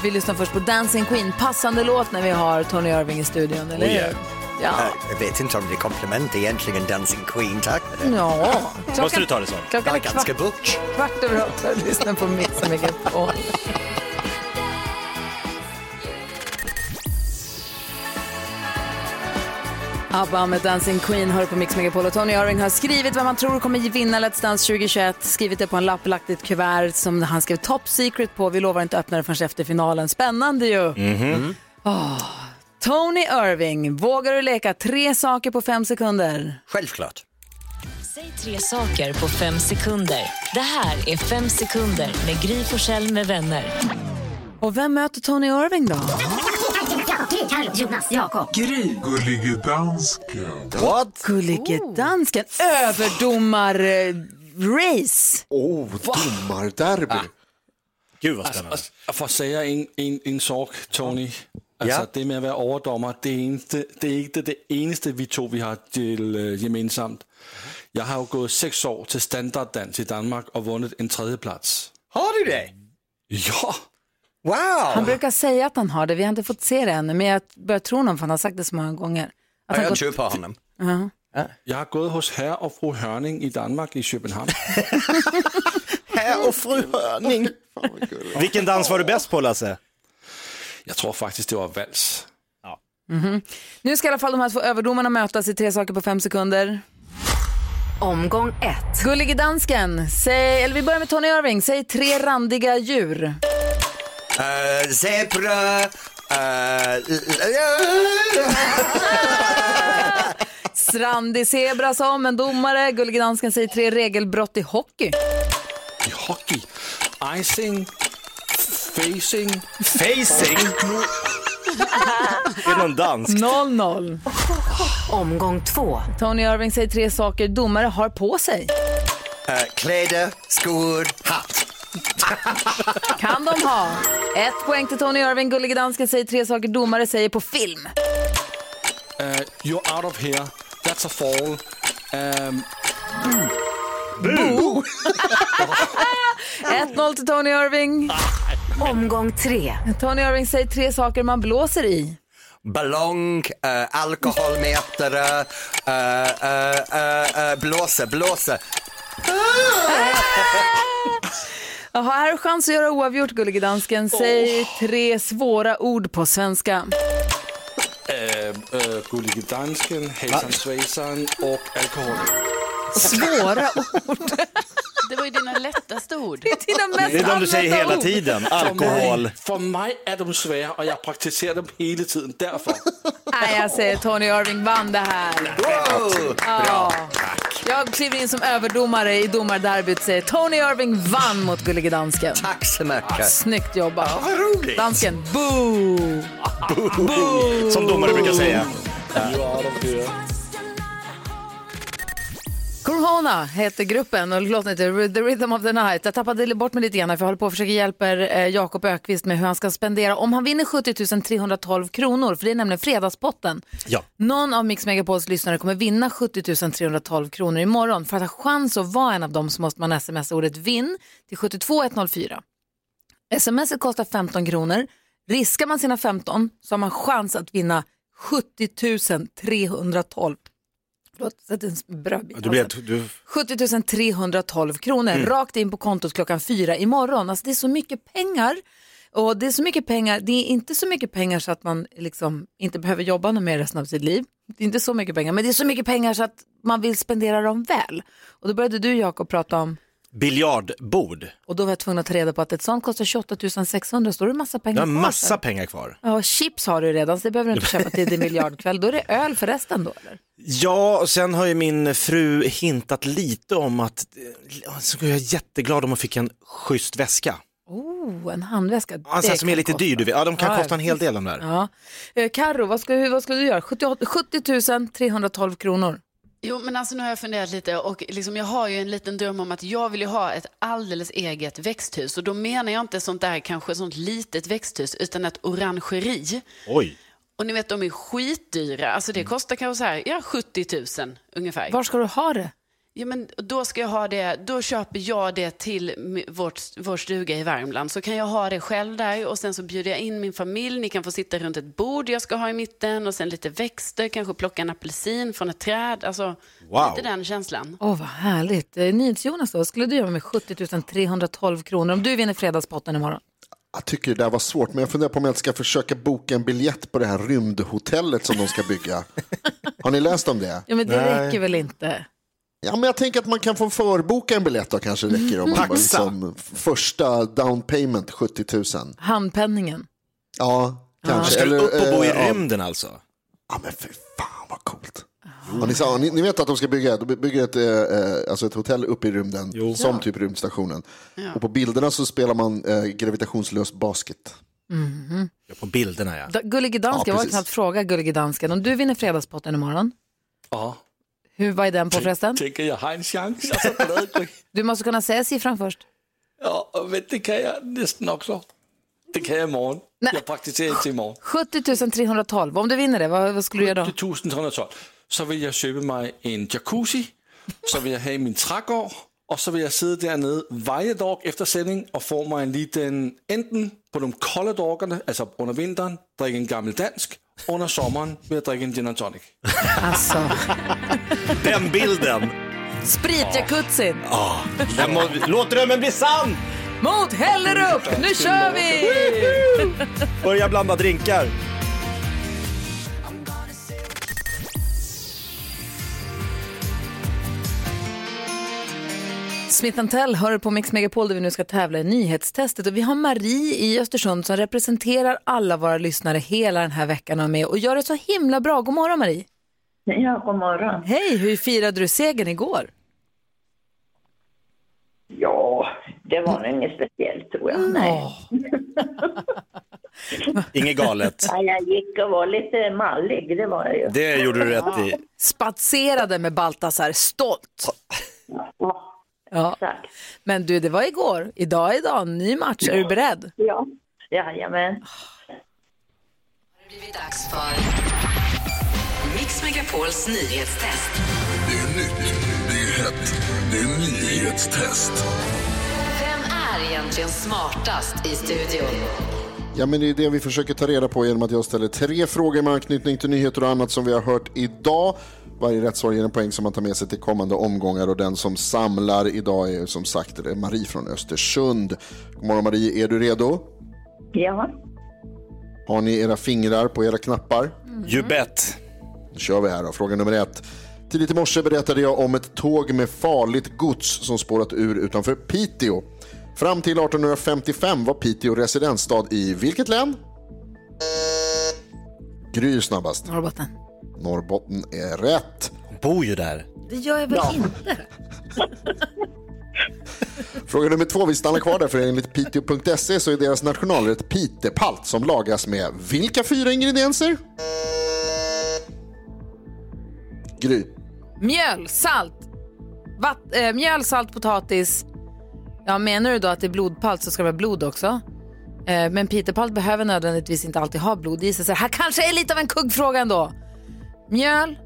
S1: Vi lyssnar först på Dancing Queen, passande låt när vi har Tony Irving i studion, eller
S3: Oh, yeah.
S1: hur? Ja.
S7: Jag vet inte om det är kompliment egentligen, Dancing Queen, tack.
S1: ja.
S3: Måste du ta det så?
S1: Klockan
S7: Jag
S1: är
S7: är ganska
S1: kvart,
S7: butch.
S1: kvart över åtta och lyssnar på Mix Megapol. ABBA med Dancing Queen hör på Mix Megapol och Tony Irving har skrivit vad man tror kommer vinna Let's Dance 2021. Skrivit det på en lapp, lagt i ett kuvert som han skrev Top Secret på. Vi lovar inte öppna det förrän efter finalen. Spännande ju! Åh. Tony Irving, vågar du leka tre saker på fem sekunder?
S7: Självklart.
S8: Säg tre saker på fem sekunder. Det här är Fem sekunder med Gry Forssell med vänner.
S1: Och vem möter Tony Irving då?
S9: Gullige dansken.
S3: What?
S1: Gullige
S8: Oh.
S1: dansken, överdomar-race.
S2: Oh, domarderby.
S3: Gud vad spännande.
S7: Alltså,
S10: For at sige en, en, en sorg, Tony. Altså, Alltså det med at være overdommer, det er, eneste, det er ikke det, det eneste, vi to vi har til øh, gemensamt. Jeg har jo gået seks år til standarddans i Danmark og vundet en tredjeplads.
S7: Har du det?
S10: Jo,
S1: Han
S7: Wow!
S1: brukar säga att han har det, vi har inte fått se det ännu, men jag börjar tro honom för han har sagt det så många gånger. Att han
S7: Jag
S1: gått,
S7: tror på honom.
S10: jeg har gået hos herre og fru Hørning i Danmark i København.
S7: Herr och fru Hörning.
S3: Vilken dans var du bäst på Lasse?
S10: Jeg tror faktisk, det var vals.
S1: nu ska i alla fall de här två överdomarna mötas i tre saker på fem sekunder.
S11: Omgång ett.
S1: Gullige dansken, säg, eller vi börjar med Tony Irving, säg tre randiga djur.
S7: Uh, zebra. eh, l- l-
S1: Strandig zebra sa om en domare, Gullige dansken säger tre regelbrott i hockey.
S10: I hockey. Icing. Facing.
S3: Facing? Det är någon dans.
S1: 0-0.
S11: Omgång två.
S1: Tony Irving säger tre saker domare har på sig.
S7: eh, Kläder, skor, hatt.
S1: Kan de ha. Ett poäng till Tony Irving. Gullige dansken säger tre saker domare säger på film.
S10: Uh, you're out of here. That's a fall. Um,
S1: 1-0 till Tony Irving.
S11: Omgång tre.
S1: Tony Irving säger tre saker man blåser i.
S7: Ballong, øh, eh, alkoholmätare, eh, eh, eh, eh, blåsa, blåsa.
S12: Ah!
S1: Jaha, här har du chans att göra oavgjort, Gullige dansken. Säg tre svåra ord på svenska.
S10: Øh, øh, Gullige Dansken, Hasan Svejsan och alkohol.
S1: Svåra ord.
S4: Det var ju dina lättaste ord.
S1: Det är de mest
S3: Det är de du säger
S1: använda
S3: hela
S1: ord.
S3: tiden. Alkohol.
S10: For mig er de svære, og jeg praktiserer dem hele tiden. Derfor.
S1: Nej, jag säger Tony Irving vann det här.
S7: Wow! Bra.
S1: Jag kliver in som överdomare i domarderbyt. Säger Tony Irving vann mot Gullige dansken.
S7: Tack så mycket.
S1: Snyggt jobbat.
S7: Vad roligt.
S1: Dansken, boo!
S3: Som domare brukar säga.
S10: You are out of here.
S1: Kommer du Icona heter gruppen och låten heter The Rhythm of the Night. Jag tappade bort mig lite grann här, för jag håller på och försöker hjälpa eh, Jakob Ökvist med hur han ska spendera, om han vinner 70 312 kronor, för det är nämligen fredagspotten.
S3: Ja.
S1: Någon av Mix Megapols lyssnare kommer vinna 70 312 kronor imorgon. För att ha chans att vara en av dem så måste man smsa ordet vinn till 72104. Sms kostar 15 kronor. Riskar man sina 15 så har man chans att vinna 70 312. Förlåt, sätt en brödbit. i
S3: Du blir,
S1: halsen.
S3: du,
S1: 70 312 kronor
S3: Mm.
S1: rakt in på kontot klockan fyra imorgon. Alltså det är så mycket pengar. Och det är så mycket pengar, det är inte så mycket pengar så att man liksom inte behöver jobba något mer resten av sitt liv. Det är inte så mycket pengar, men det är så mycket pengar så att man vill spendera dem väl. Och då började du Jakob prata om,
S3: biljardbord.
S1: och då var jag tvungen att ta reda på att ett sånt kostar 28 600, så då är det massa
S3: Du
S1: pengar
S3: har
S1: kvar
S3: massa
S1: sen.
S3: pengar kvar.
S1: Ja, och chips har du redan, så det behöver du inte köpa till din miljardkväll. Då är det öl för resten då eller?
S3: Ja, och sen har ju min fru hintat lite om att eh, så skulle jag är jätteglad om hon fick en schysst väska.
S1: Oh, en handväska.
S3: Alltså,
S1: Det
S3: som är
S1: kan
S3: lite
S1: kosta.
S3: dyr, du vet. Ja, de kan kosta en hel
S1: visst.
S3: del, de där.
S1: Ja. Eh, Karo, vad ska, hur- vad ska du göra? 78 70 312 kronor.
S4: Jo, men alltså nu har jag funderat lite och liksom, jag har ju en liten dröm om att jag vill ju ha ett alldeles eget växthus. Och då menar jag inte sånt där kanske sånt litet växthus, utan ett orangeri.
S3: Oj.
S4: Och ni vet, de är skitdyra. Alltså det kostar kanske så här, ja, 70 000 ungefär.
S1: Mm. Var ska du ha det?
S4: Ja, men då ska jag ha det, då köper jag det till m- vårt, vår stuga i Värmland. Så kan jag ha det själv där och sen så bjuder jag in min familj. Ni kan få sitta runt ett bord jag ska ha i mitten och sen lite växter, kanske plocka en apelsin från ett träd. Alltså,
S1: Wow.
S4: lite den känslan.
S1: Åh, vad härligt. Eh, NyhetsJonas, då, vad skulle du göra med 70 312 kronor om du vinner fredagspotten imorgon?
S2: Jag tycker det där var svårt, men jag funderar på om jag inte ska försöka boka en biljett på det här rymdhotellet som de ska bygga. Har ni läst om det?
S1: Ja, men det räcker väl inte?
S2: Ja, men jag tänker att man kan få förboka en biljett då kanske räcker. Om man
S1: Taxa.
S2: bara liksom, första down payment 70 000.
S1: Handpenningen.
S2: Ja, kanske.
S3: Ska du upp och bo i
S2: eh, ja.
S3: rymden alltså?
S2: Ja, men för Ja, ni, sa, ni, ni vet att de ska bygga, de bygger ett, eh, eh, alltså ett hotell uppe i rymden, som typ rymdstationen. Och på bilderna så spelar man eh, gravitationslös basket.
S1: Mhm.
S3: På bilderna ja.
S1: Da- Gullige dansken,
S2: Ja,
S1: jag var
S2: precis.
S1: knappt fråga Gullige dansken. Om du vinner fredagspotten imorgon,
S10: Ja.
S1: hur, vad är den på förresten?
S10: Tänker jag har en chans. Jag är så glad.
S1: Du måste kunna säga siffran först.
S10: Ja, och vet, det kan jag nästan också. Det kan jag imorgon. Jag praktiserar till imorgon.
S1: 70 312, om du vinner det, vad, vad skulle du göra då?
S10: 1312. Så vill jag köpa mig en jacuzzi, så vill jag ha min trädgård och så vill jag sitta där nere varje dag efter sändning och få mig en liten, enten på de kalla dagarna, alltså under vintern, dricka en gammal dansk, under sommaren vill jag dricka en gin and tonic.
S1: Alltså.
S3: Den bilden!
S1: Spritjacuzzin!
S3: Ja. Den må, låt drömmen bli sann!
S1: Mot Hellerup! Nu kör vi!
S3: Börja blanda drinkar.
S1: Smith Tell hör på Mix Megapol där vi nu ska tävla i nyhetstestet och vi har Marie i Östersund som representerar alla våra lyssnare hela den här veckan och är med och gör det så himla bra. God morgon Marie!
S13: Ja, god morgon.
S1: Hej! Hur firade du segern igår?
S13: Ja, det var nog inget speciellt tror jag. Nej.
S3: Inget galet.
S13: Ja, jag gick och var lite mallig, det var jag ju.
S3: Det gjorde du rätt i.
S1: Spatserade med Baltasar, stolt! Ja. Men du, det var igår. Idag är idag, ny match. Är du beredd?
S13: Ja. Jajamän.
S11: Dags för Mix Megapols nyhetstest.
S9: Det är nytt, det är hett, det är nyhetstest.
S11: Vem är egentligen smartast i studion?
S2: Ja, men det är det vi försöker ta reda på genom att jag ställer tre frågor med anknytning till nyheter och annat som vi har hört idag. Varje rätt svar ger en poäng som man tar med sig till kommande omgångar och den som samlar idag är som sagt det är Marie från Östersund. God morgon Marie, är du redo?
S13: Ja.
S2: Har ni era fingrar på era knappar?
S3: You bet.
S2: Då kör vi här då, fråga nummer ett. Tidigt i morse berättade jag om ett tåg med farligt gods som spårat ur utanför Piteå. Fram till 1855 var Piteå residensstad i vilket län? Gry är snabbast.
S1: Norrbotten.
S2: Norrbotten är rätt. Hon
S3: bor ju där.
S1: Det gör jag väl inte?
S2: Fråga nummer två, vi stannar kvar där för enligt piteå.se så är deras nationalrätt pitepalt som lagas med vilka fyra ingredienser? Gry.
S1: Mjöl, salt, Vatt, eh, mjöl, salt, potatis. Ja, menar du då att det är blodpalt så ska det vara blod också? Eh, men pitepalt behöver nödvändigtvis inte alltid ha blod i sig. Så det här kanske är lite av en kuggfråga ändå. Mjöl,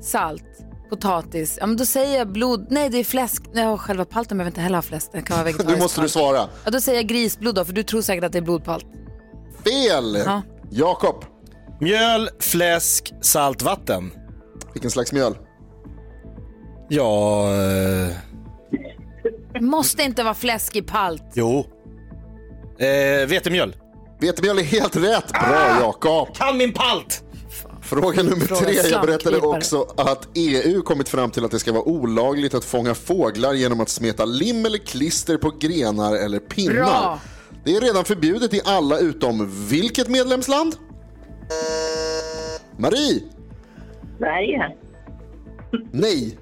S1: salt, potatis. Ja, men då säger jag blod. Nej, det är fläsk. Nej, och själva palten behöver inte heller ha fläsk. Den kan vara
S2: Nu
S1: vegetarisk
S2: måste du
S1: palt.
S2: svara.
S1: Ja, då säger jag grisblod då, för du tror säkert att det är blodpalt.
S2: Fel!
S1: Ja.
S2: Jakob.
S3: Mjöl, fläsk, salt, vatten.
S2: Vilken slags mjöl?
S3: Ja... Eh...
S1: Det måste inte vara fläsk i palt.
S3: Jo. Eh, vetemjöl.
S2: Vetemjöl är helt rätt.
S1: Ah!
S2: Bra Jakob.
S3: Kan min palt!
S2: Fråga nummer
S3: Fråga
S2: tre. Jag berättade
S3: slagkrypare.
S2: också att EU kommit fram till att det ska vara olagligt att fånga fåglar genom att smeta lim eller klister på grenar eller pinnar.
S1: Bra.
S2: Det är redan förbjudet i alla utom vilket medlemsland? Marie!
S13: Sverige.
S2: Nej.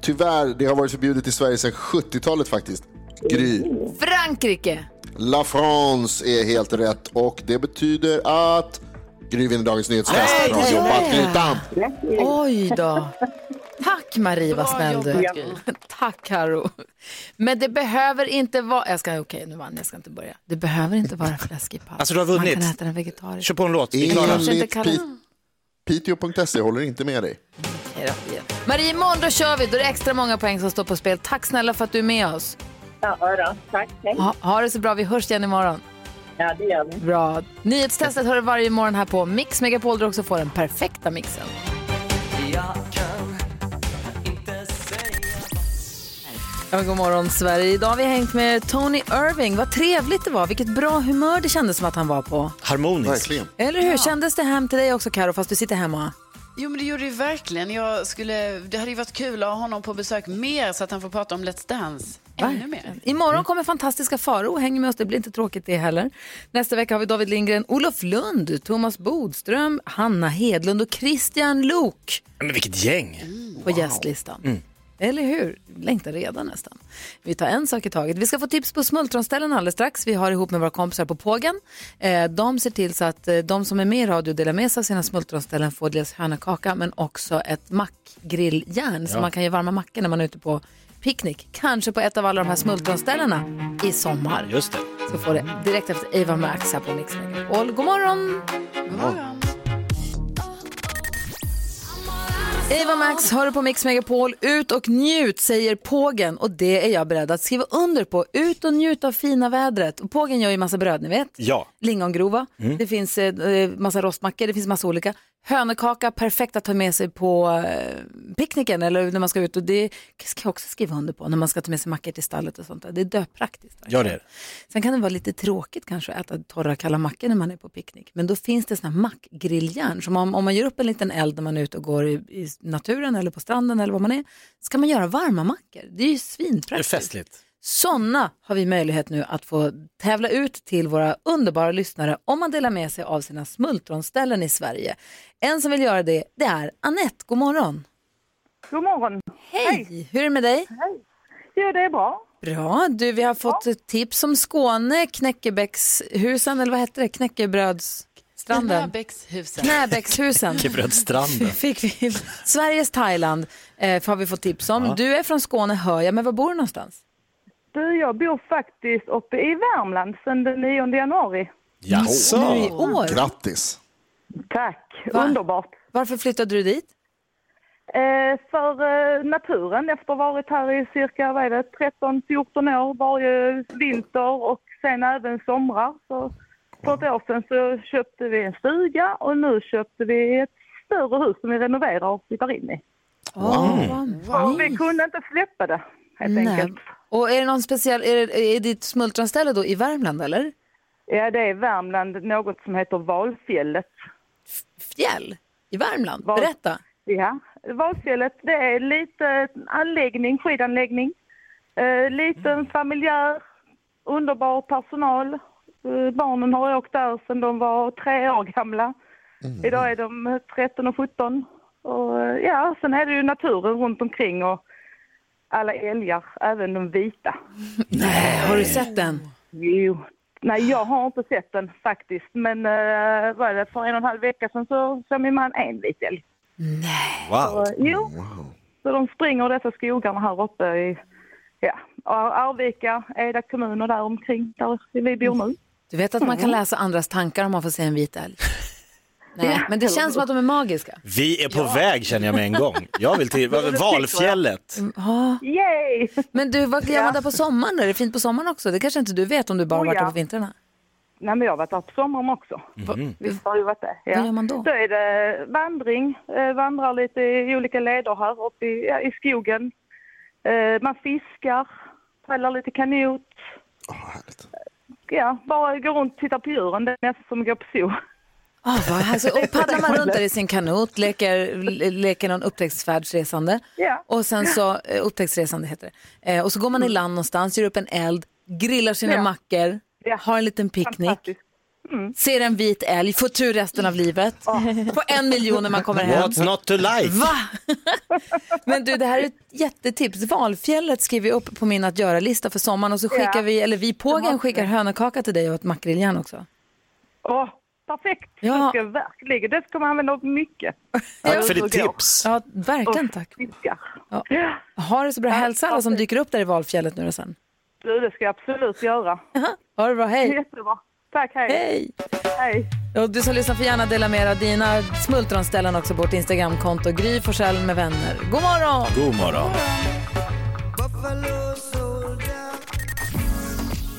S2: Tyvärr, det har varit förbjudet i Sverige sedan 70-talet faktiskt. Gry.
S1: Frankrike.
S2: La France är helt rätt och det betyder att Gry vinner dagens nyhetstest.
S1: Nej,
S2: Bra
S1: det
S2: jobbat
S1: är det.
S2: Grytan!
S1: Oj då. Tack Marie, vad snäll du
S4: jobbat,
S1: är. Tack Karo. Men det behöver inte vara... Jag ska, okej, nu vann jag, jag ska inte börja. Det behöver inte vara fläsk i palt.
S3: Alltså, du har
S1: Man
S3: vunnit.
S1: kan äta den vegetariskt.
S3: Kör på en låt. Vi är klara.
S1: Kanske inte
S2: Enligt
S1: kallar...
S2: Pit- Piteå.se E håller inte med dig.
S1: Okej då. Marie, imorgon då kör vi. Då är det extra många poäng som står på spel. Tack snälla för att du är med oss.
S13: Ja, då. Tack. Hej.
S1: Ha, ha det så bra. Vi hörs igen imorgon.
S13: Ja, det gör vi.
S1: Bra. Nyhetstestet hör du varje morgon här på Mix Megapol där du också får den perfekta mixen. Ja, god morgon Sverige. Idag har vi hängt med Tony Irving. Vad trevligt det var. Vilket bra humör det kändes som att han var på.
S3: Harmoniskt.
S2: Verkligen.
S1: Eller hur? Kändes det hem till dig också Karo fast du sitter hemma?
S4: Jo men det gjorde det ju verkligen. Jag skulle, det hade ju varit kul att ha honom på besök mer så att han får prata om Let's Dance ännu mer.
S1: Imorgon kommer fantastiska Faro. Häng med oss, det blir inte tråkigt det heller. Nästa vecka har vi David Lindgren, Olof Lund, Thomas Bodström, Hanna Hedlund och Christian Lok
S3: Men vilket gäng.
S1: på gästlistan. Eller hur? Längtar redan nästan. Vi tar en sak i taget. Vi ska få tips på smultronställen alldeles strax. Vi har ihop med våra kompisar på Pågen. Eh, de ser till så att eh, de som är med i radio delar med sig av sina smultronställen får dels hönakaka men också ett mackgrilljärn så
S14: Ja.
S1: man kan ju varma mackor när man är ute på picknick. Kanske på ett av alla de här smultronställena i sommar.
S3: Just det.
S1: Så får det direkt efter Eva Max här på Mix Megapol. God morgon! Eva Max hör på Mix Megapol. Ut och njut, säger Pågen. Och det är jag beredd att skriva under på. Ut och njut av fina vädret. Och Pågen gör ju massa bröd, ni vet.
S3: Ja.
S1: Lingongrova,
S3: Mm.
S1: det finns eh, massa rostmackor, det finns massa olika. Hönökaka, perfekt att ta med sig på eh, picknicken eller när man ska ut. Och det ska jag också skriva under på, när man ska ta med sig mackor till stallet och sånt där. Det är döpraktiskt.
S3: Gör det.
S1: Sen kan det vara lite tråkigt kanske att äta torra kalla mackor när man är på picknick. Men då finns det såna här mackgrilljärn. Så om, om man gör upp en liten eld när man är ute och går i, i naturen eller på stranden eller var man är, ska man göra varma mackor. Det är ju
S3: Det är
S1: svinpraktiskt.
S3: festligt.
S1: Sådana har vi möjlighet nu att få tävla ut till våra underbara lyssnare om man delar med sig av sina smultronställen i Sverige. En som vill göra det, det är Annette. God morgon!
S12: God morgon.
S1: Hej! Hur är det med dig?
S12: Jo, det är bra.
S1: Bra. Du, vi har fått ett tips om Skåne, Knäckebäckshusen, eller vad heter det? Knäckebrödsstranden?
S4: Knäbäckshusen.
S1: Knäbäckshusen.
S3: Knäckebrödsstranden.
S1: Fick vi. Sveriges Thailand eh, har vi fått tips om.
S12: Ja.
S1: Du är från Skåne, hör jag, men var bor du någonstans?
S12: Du, jag bor faktiskt uppe i Värmland sedan den 9 januari.
S1: Jaså? Nu i år?
S2: Grattis!
S12: Tack, underbart.
S1: Varför flyttade du dit?
S12: Eh, för eh, naturen, efter att ha varit här i cirka vad är det, 13-14 år varje vinter och sen även somrar. Så för ett år sedan så köpte vi en stuga och nu köpte vi ett större hus som vi renoverar och flyttar in i. Och vi kunde inte släppa det helt
S1: Nej.
S12: enkelt.
S1: Och är det någon speciell, är, det, är ditt smultronställe då i Värmland eller?
S12: Ja, det är i Värmland något som heter Valfjället.
S1: Fjäll? I Värmland? Berätta.
S12: Ja, Valfjället det är lite anläggning, skidanläggning. Eh, liten familjär, underbar personal. Eh, barnen har åkt där sedan de var tre år gamla. Idag är de 13 och 17. Och, eh, ja, sen är det ju naturen runt omkring och alla älgar, även de vita.
S1: Nej, har du sett den?
S12: Jo. Nej, jag har inte sett den faktiskt. Men eh, vad är det, för en och en halv vecka sedan så såg min man en vit älg.
S3: Wow.
S12: Så, jo. Så de springer dessa skogarna här uppe i ja, Arvika, Eda kommun och där omkring där vi bor nu.
S1: Du vet att man kan läsa andras tankar om man får se en vit älg? Nej, men det känns som att de är magiska.
S3: Vi är på väg känner jag med en gång. Jag vill till
S1: det tycker jag.
S3: Valfjället.
S1: Ja.
S12: Yay!
S1: Men du, vad gör man där på sommaren? Är det fint på sommaren också? Det kanske inte du vet om du bara
S12: Oh,
S1: varit där
S12: ja.
S1: på vintrarna?
S12: Nej, men jag har varit där på sommaren också. Visst har jag varit det. Ja.
S1: Vad gör man då?
S12: Då är det vandring, eh, vandrar lite i olika leder här uppe i, ja, i skogen. Eh, man fiskar, fäller lite kanot. Ja, bara går runt och tittar på djuren. Det är nästan som att gå på zoo.
S1: Oh, vad härligt. Så- och paddlar man runt där i sin kanot, leker, le- leker någon upptäcktsfärdsresande.
S12: Ja.
S1: Och sen så, eh, upptäcktsresande heter det. Eh, och så går man i land någonstans, gör upp en eld, grillar sina
S12: Mm. Ja. Mm.
S1: mackor, har en liten picknick. Ser en vit älg, får tur resten av livet. På en miljon när man kommer hem.
S3: What's not to like?
S1: Va? Men du, det här är ett jättetips. Valfjället skriver jag upp på min att göra-lista för sommaren och så skickar
S12: Ja.
S1: vi, eller vi pågen skickar hönökaka till dig och ett makrilljärn också.
S12: Åh, perfekt!
S1: Ja.
S12: Det ska jag verkligen. Det ska man använda mycket.
S1: Tack för
S12: ditt
S1: tips. Ja, verkligen tack. Ja. Ha det så bra. Hälsa alla som dyker upp där i valfjället nu då sen.
S12: Du, det ska jag absolut göra.
S1: Ha det bra, hej.
S12: Jättebra. Tack, hej.
S1: Hej.
S12: Hej.
S1: Och du som lyssnar får gärna dela med er av dina smultronställen också på vårt Instagramkonto, Gry Forssell med vänner. God morgon!
S3: God morgon.